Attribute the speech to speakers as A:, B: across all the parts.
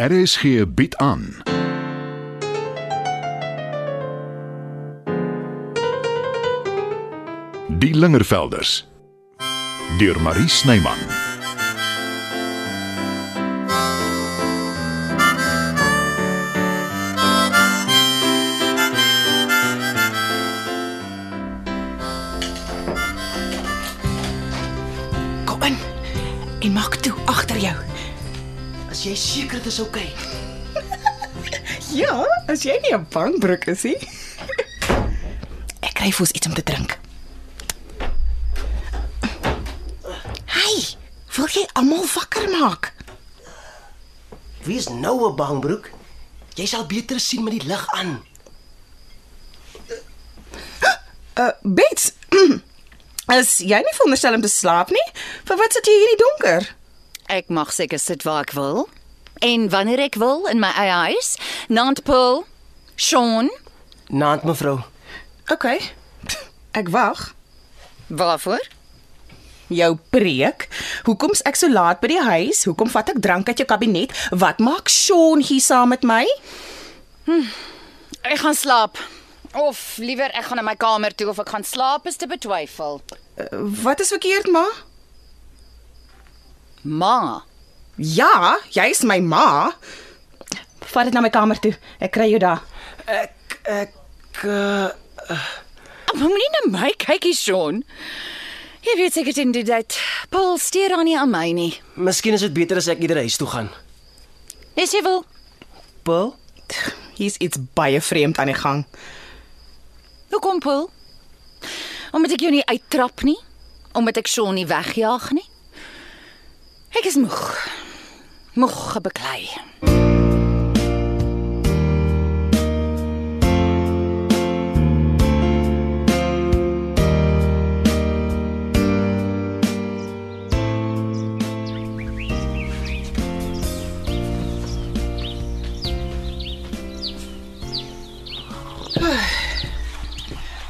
A: RSG bied aan. Die Lingervelders deur Marie Snyman.
B: Kom in en maak toe agter jou.
C: As jy seker dit is oukei. Okay.
D: Ja, as jy nie 'n bangbroek is nie.
B: Ek kry vir ons iets om te drink. Hey, wil jy almal wakker maak?
C: Wees nou 'n bangbroek. Jy sal beter sien met die lig aan.
D: Uh, Bets. As jy nie veronderstel om te slaap nie, vir wat sit jy hier in die donker?
E: Ek mag seker sit waar ek wil en wanneer ek wil in my eie huis. Nantpool, Sean,
C: Naand mevrou.
D: OK. Ek wag.
E: waarvoor?
D: Jou preek. Hoekom's ek so laat by die huis? Hoekom vat ek drank uit jou kabinet? Wat maak Sean hier saam met my? Uh,
E: Ek gaan slaap. Of liewer ek gaan na my kamer toe of ek gaan slaap is te betwyfel.
D: Wat is verkeerd, ma?
E: Ma,
D: Ja, jy's my ma. Vat dit na my kamer toe. Ek kry jou daar.
C: Ek ek uh,
E: moenie na my kyk hier, Sean. Jy weet seker dit doen dit. Paul steur aan nie aan my nie.
C: miskien is dit beter as ek eerder huis toe gaan.
E: Dis jy wil.
C: Paul,
D: Hier's iets baie vreemd aan die gang.
E: Hoekom, Paul? Omdat ek jou nie uittrap nie, omdat ek Sean nie wegjaag nie. Ek is moeg. Moeg gebeklei.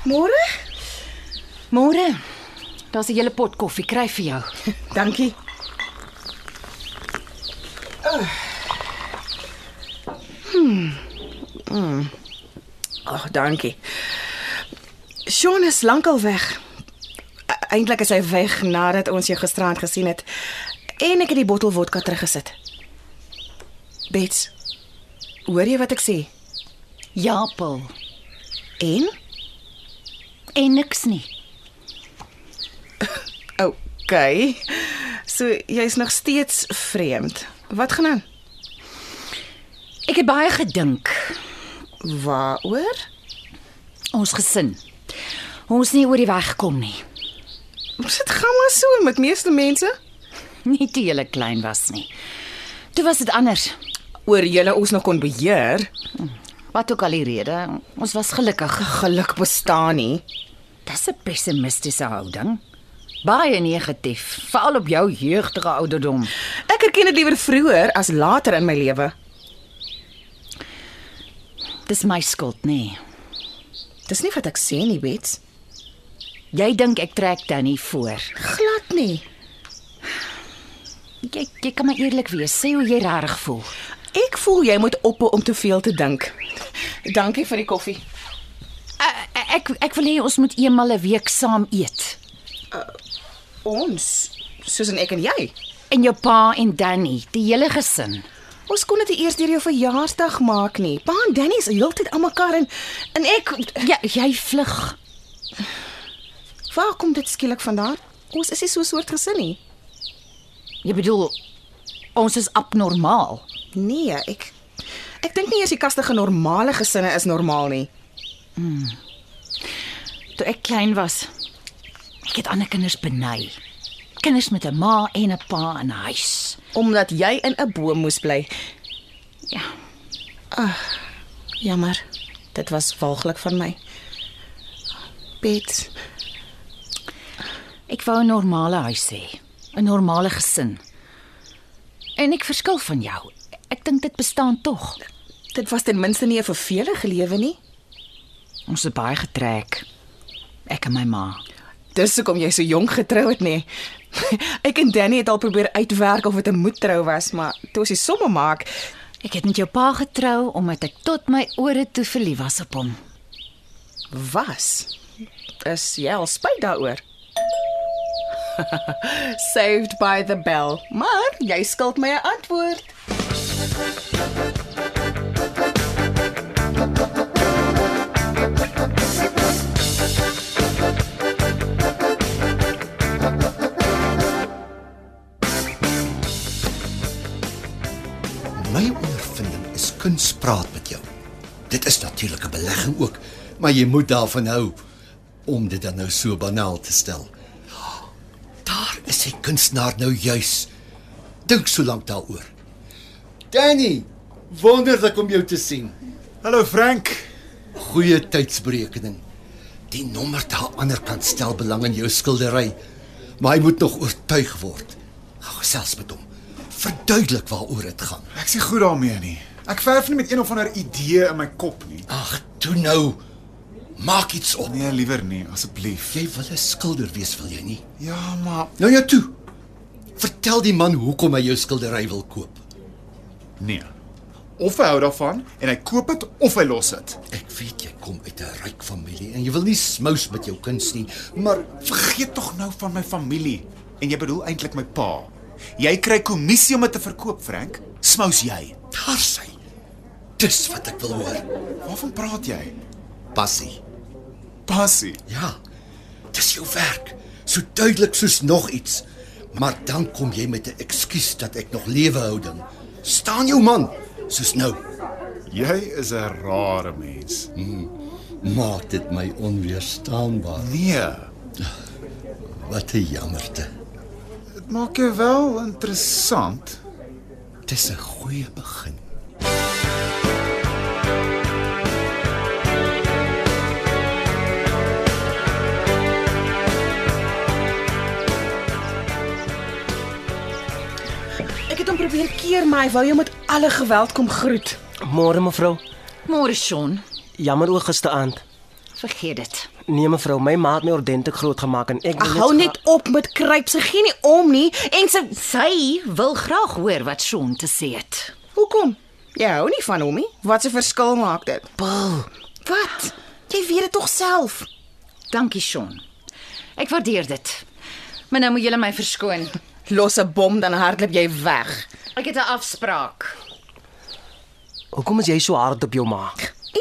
D: Môre?
E: Môre. Daar's 'n hele pot koffie kry vir jou.
D: Dankie. Ah. Hmm. Ag, hmm. oh, dankie. Sean is lankal weg. E- Eintlik is hy weg nadat ons jou gisterand gesien het. En ek het die bottel vodka teruggesit. Bets. Hoor jy wat ek sê?
E: Ja, Paul.
D: En?
E: En niks nie.
D: Okay. So jy's nog steeds vreemd. Wat gaan aan?
E: Ek het baie gedink.
D: Waaroor?
E: Ons gesin. Hoe Ons nie oor die weg kom nie.
D: Ons dit gaan maar so met meeste mense.
E: Nie toe jy klein was nie. Toe was dit anders.
D: oor julle ons nog kon beheer,
E: Wat ook al die rede, ons was gelukkig.
D: geluk bestaan nie.
E: Dis 'n pessimistiese houding. Baie negatief, veral op jou jeugdige ouderdom.
D: Ek erken dit liewer vroeër as later in my lewe.
E: Dis my skuld, nê. Nee.
D: Dis nie wat ek sê nie, Bets.
E: Jy dink ek trek Danny voor.
D: Glad nie.
E: Jy jy kan maar eerlik wees, sê hoe jy regtig voel.
D: Ek voel jy moet ophou om te veel te dink. Dankie vir die koffie.
E: Ek Eh, ek, ek wil hê ons moet eenmal 'n week saam eet.
D: Ons, Susan ek en jy.
E: En jou pa en Danny, die hele gesin.
D: Ons kon dit nie eers deur jou verjaarsdag maak nie. Pa en Danny is heeltyd aan mekaar en en ek
E: Ja, jy vlug.
D: waar kom dit skielik vandaan? Ons is nie so 'n soort gesin nie.
E: Jy bedoel ons is abnormaal.
D: Nee, ek ek dink nie eers die kastige normale gesinne is normaal nie.
E: Toe ek klein was, ek het ander kinders beny. Kinders met 'n ma en 'n pa in 'n huis.
D: omdat jy in 'n boom moes bly. Ah,
E: Ja.
D: Jammer. Dit was walglik van my. Bets,
E: Ek wou 'n normale huis hê, 'n normale gesin. En ek verskil van jou. Ek dink dit bestaan tog.
D: dit was ten minste nie 'n vervelige lewe nie.
E: Ons het baie getrek. Ek en my ma.
D: Dis hoekom jy so jonk getrou het, nee. nê? Ek en Danny het al probeer uitwerk of dit 'n moedtrou was, maar toe ons die somme maak,
E: Ek het met jou pa getrou omdat ek tot my ore toe verlief was op hom.
D: Was. Is jy al spyt daaroor? Saved by the bell. Maar jy skuld my 'n antwoord.
F: My ondervinding is kuns praat met jou. Dit is natuurlik 'n belegging ook, maar jy moet daarvan hou om dit dan nou so banaal te stel. Daar is hy kunstenaar nou juis. Dink so lank daaroor. Danny, wonderlik om jou te sien.
G: Hallo Frank.
F: Goeie tydsberekening. Die nommer daar aan die ander kant stel belang in jou skildery, maar hy moet nog oortuig word. Gaan gesels met hom. Verduidelik waaroor dit gaan.
G: Ek sien goed daarmee nie. Ek verf nie met een of ander idee in my kop nie.
F: Ag, toe nou. Maak iets op.
G: Nee, liewer nie, asseblief.
F: Jy wil 'n skilder wees, wil jy nie?
G: Ja, maar
F: Nou ja toe. Vertel die man hoekom hy jou skildery wil koop.
G: nee. Of hy hou daarvan en hy koop dit of hy los dit.
F: Ek weet jy kom uit 'n ryk familie en jy wil nie smous met jou kuns nie, maar
G: Vergeet tog nou van my familie en jy bedoel eintlik my pa. Jy kry kommissie om dit te verkoop, Frank. Smous jy.
F: daar sy. Dis wat ek wil hoor.
G: Waarvan praat jy?
F: Passie.
G: Passie.
F: Ja. Dis jou werk. So duidelik soos nog iets. Maar dan kom jy met 'n ekskuus dat ek nog lewe hou dan. Staan jou man, soos nou.
G: Jy is 'n rare mens.
F: Maak dit my onweerstaanbaar.
G: Nee,
F: Wat 'n jammerte.
G: dit maak jou wel interessant.
F: Dis 'n goeie begin.
D: Ek het hom probeer keer, maar hy wou jou met alle geweld kom groet.
C: Môre mevrou.
E: Môre Sean,
C: Jammer ook gisteraand.
E: vergeet dit.
C: Nee mevrou, my ma het my ordentlik groot gemaak en ek wil
D: Ag hou net op met kruip. Sy gee nie om nie en sy
E: Sy wil graag hoor wat Sean te sê het.
D: Hoekom? Jy hou nie van hom nie. Wat 'n verskil maak dit?
C: Paul,
D: Wat? Jy weet dit tog self.
E: Dankie Sean. Ek waardeer dit. Maar nou moet julle my verskoon.
D: Los 'n bom dan hardloop jy weg.
E: Ek het 'n afspraak.
C: hoekom is jy so hard op jou ma?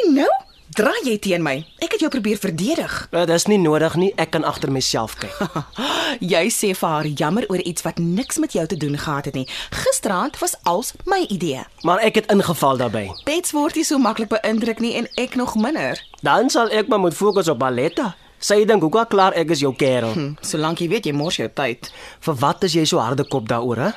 D: En nou draai jy teen my. Ek het jou probeer verdedig.
C: Uh, Dit is nie nodig nie, ek kan agter myself kyk.
D: Jy sê vir haar jammer oor iets wat niks met jou te doen gehad het nie. Gisteraand was als my idee.
C: maar ek het ingeval daarbey.
D: Bets word nie so maklik beïndruk nie en ek nog minder.
C: Dan sal ek maar moet fokus op Baletta. Sy dink hoekom klaar ek is jou kerel. Hm.
D: Hm, solank jy weet jy mors jou tyd.
C: Vir wat is jy so harde kop daaroor, hè?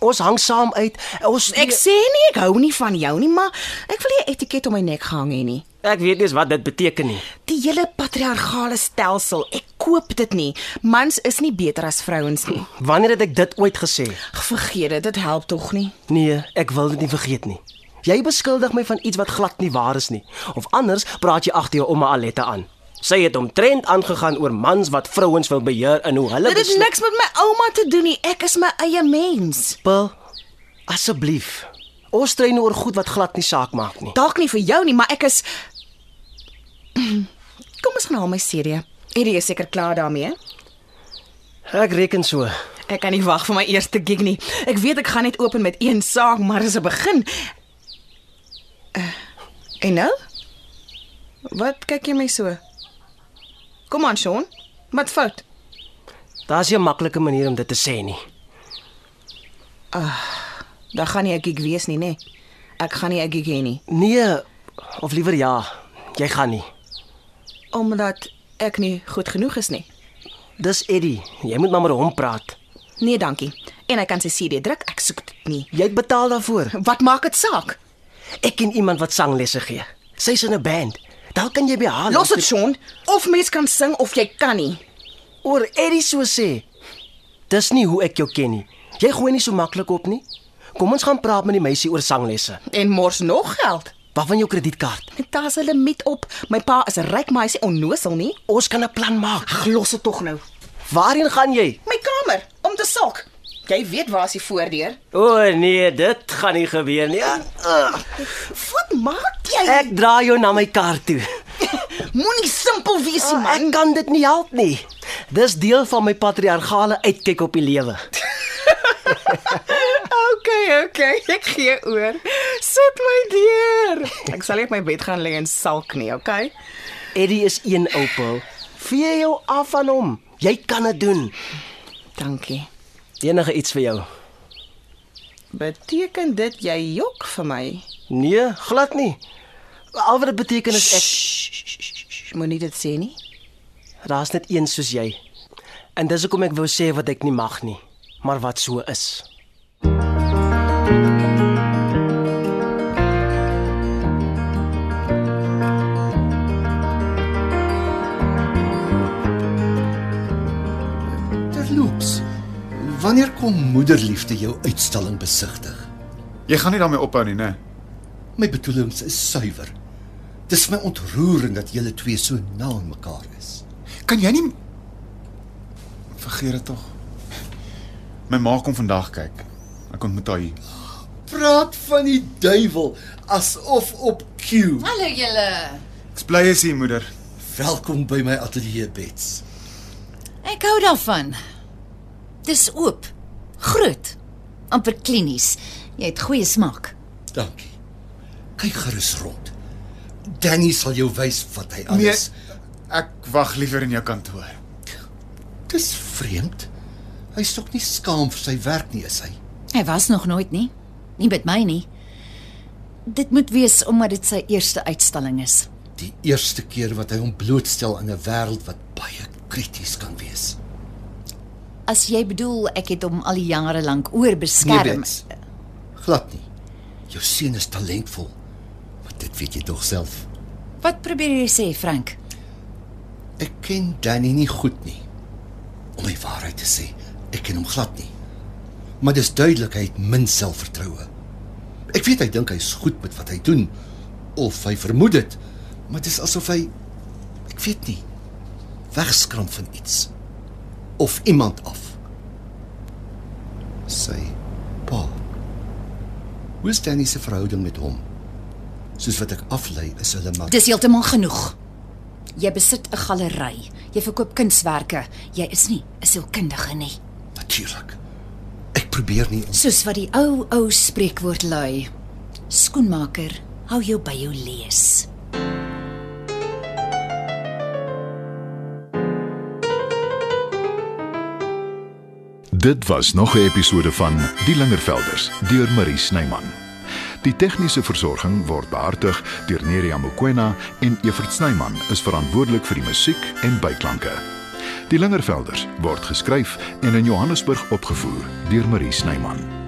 C: Ons hang saam uit. Ons
D: Ek sê nie ek hou nie van jou nie, maar ek wil nie 'n etiket om my nek gehang hê nie.
C: ek weet nie eens wat dit beteken nie.
D: Die hele patriargale stelsel, ek koop dit nie. Mans is nie beter as vrouens nie.
C: Wanneer het ek dit ooit gesê?
D: Vergeet dit, dit help tog nie.
C: Nee, ek wil dit nie vergeet nie. Jy beskuldig my van iets wat glad nie waar is nie. Of anders praat jy agter jou ouma Aletta aan. Sy het omtrent aangegaan oor mans wat vrouens wil beheer en hoe hulle
D: Dit het niks met my ouma te doen nie. Ek is my eie mens.
C: Pil, asseblief. Ons strei nou oor goed wat glad nie saak maak nie.
D: Dalk nie vir jou nie, maar ek is Kom ons gaan haal my CD. Hierdie is seker klaar daarmee. hè?
C: Ek reken so.
D: Ek kan nie wag vir my eerste gig nie. Ek weet ek gaan net open met een saak, maar dis 'n begin. Uh, en nou? Wat kyk jy my so? Kom aan, Sean. Wat fout?
C: Daar's 'n maklike manier om dit te sê nie.
D: Dan gaan nie 'n gig wees nie, nê? Ek gaan nie 'n gig hê nie,
C: Nee, of liewer ja, jy gaan nie.
D: omdat ek nie goed genoeg is nie.
C: Dis Eddie. Jy moet maar met hom praat.
D: Nee, dankie. En hy kan sy CD druk. Ek soek dit nie.
C: Jy het betaal daarvoor.
D: Wat maak dit saak?
C: Ek ken iemand wat sanglesse gee. Sy's in 'n band. Daar kan jy by haar.
D: Los dit,
C: luister.
D: Sean. Of mens kan sing of jy kan nie.
C: oor Eddie so sê. Dis nie hoe ek jou ken nie. Jy gooi nie so maklik op nie. Kom ons gaan praat met die meisie oor sanglesse.
D: En mors nog geld.
C: Wat van jou kredietkaart?
D: Daar's 'n limiet op. My pa is 'n ryk meisie onnosel nie.
C: Ons kan 'n plan maak.
D: Ag, los dit tog nou.
C: Waarheen gaan jy?
D: My kamer om te sulk. Jy weet waar is die voordeur?
C: O nee, dit gaan nie gebeur nie. Ah, ah.
D: Wat maak jy?
C: Ek dra jou na my kar toe.
D: Moenie simpel wees,
C: Ah, Ek kan dit nie help nie. Dis deel van my patriargale uitkyk op die lewe.
D: Okay, okay, ek gee oor. Sit my deur. Ek sal net my bed gaan lê en sulk nie, okay?
C: Eddie is een oupel. Vee jou af van hom. Jy kan dit doen.
D: Dankie.
C: Enige iets vir jou.
D: Beteken dit jy jok vir my?
C: Nee, glad nie. Al wat dit beteken is ek
D: Ek moenie dit sê nie.
C: daar's net een soos jy. En dis hoekom ek wou sê wat ek nie mag nie, maar wat so is.
F: Terloops, wanneer kom moederliefde jou uitstalling besigtig?
G: Jy gaan nie daarmee ophou nie, nee. né?
F: My bedoelings is suiwer. Dis my ontroerend dat julle twee so na aan mekaar is.
G: Kan jy nie vergeet dit tog. My ma kom vandag kyk. Ek ontmoet haar hier.
F: Praat van die duiwel asof op Q.
E: Hallo julle.
G: Ek's bly jy's hier, moeder.
F: Welkom by my ateljee beds.
E: Ek hou daarvan. Dis oop. Groot. amper klinies. Jy het goeie smaak.
F: Dankie. Kyk gerus rond. Danny sal jou wys wat hy alles. Nee.
G: ek wag liewer in jou kantoor.
F: Dis vreemd. Hy's tog nie skaam vir sy werk nie, is hy?
E: Hy was nog nooit nie. Nie met my nie. Dit moet wees omdat dit sy eerste uitstalling is.
F: Die eerste keer wat hy hom blootstel aan 'n wêreld wat baie krities kan wees.
E: As jy bedoel ek het hom al die jare lank oor
F: Nee,
E: beskerm.
F: Bets. Glad nie. Jou seun is talentvol. Maar dit weet jy tog self.
E: Wat probeer jy sê, Frank?
F: Ek ken Danny nie goed nie. Om die waarheid te sê, ek ken hom glad nie. Maar dis duidelik hy het min selfvertroue. Ek weet hy dink hy's goed met wat hy doen of hy vermoed dit, maar dis asof hy ek weet nie wegskram van iets of iemand af. Sy pa. Hoe is Danny se verhouding met hom? Soos wat ek aflei, is hulle maar
E: Dis heeltemal genoeg. Jy besit 'n galery. Jy verkoop kunswerke. Jy is nie 'n sielkundige nie.
F: natuurlik. Ek probeer nie om
E: Soos wat die ou ou spreekwoord lui. Skoenmaker, hou jou by jou lees.
A: Dit was nog 'n episode van Die Lingervelders deur Marie Snyman. Die tegniese versorging word behartig deur Neriya Mkwena en Evert Snyman is verantwoordelik vir die musiek en byklanke. Die Lingervelders word geskryf en in Johannesburg opgevoer deur Marie Snyman.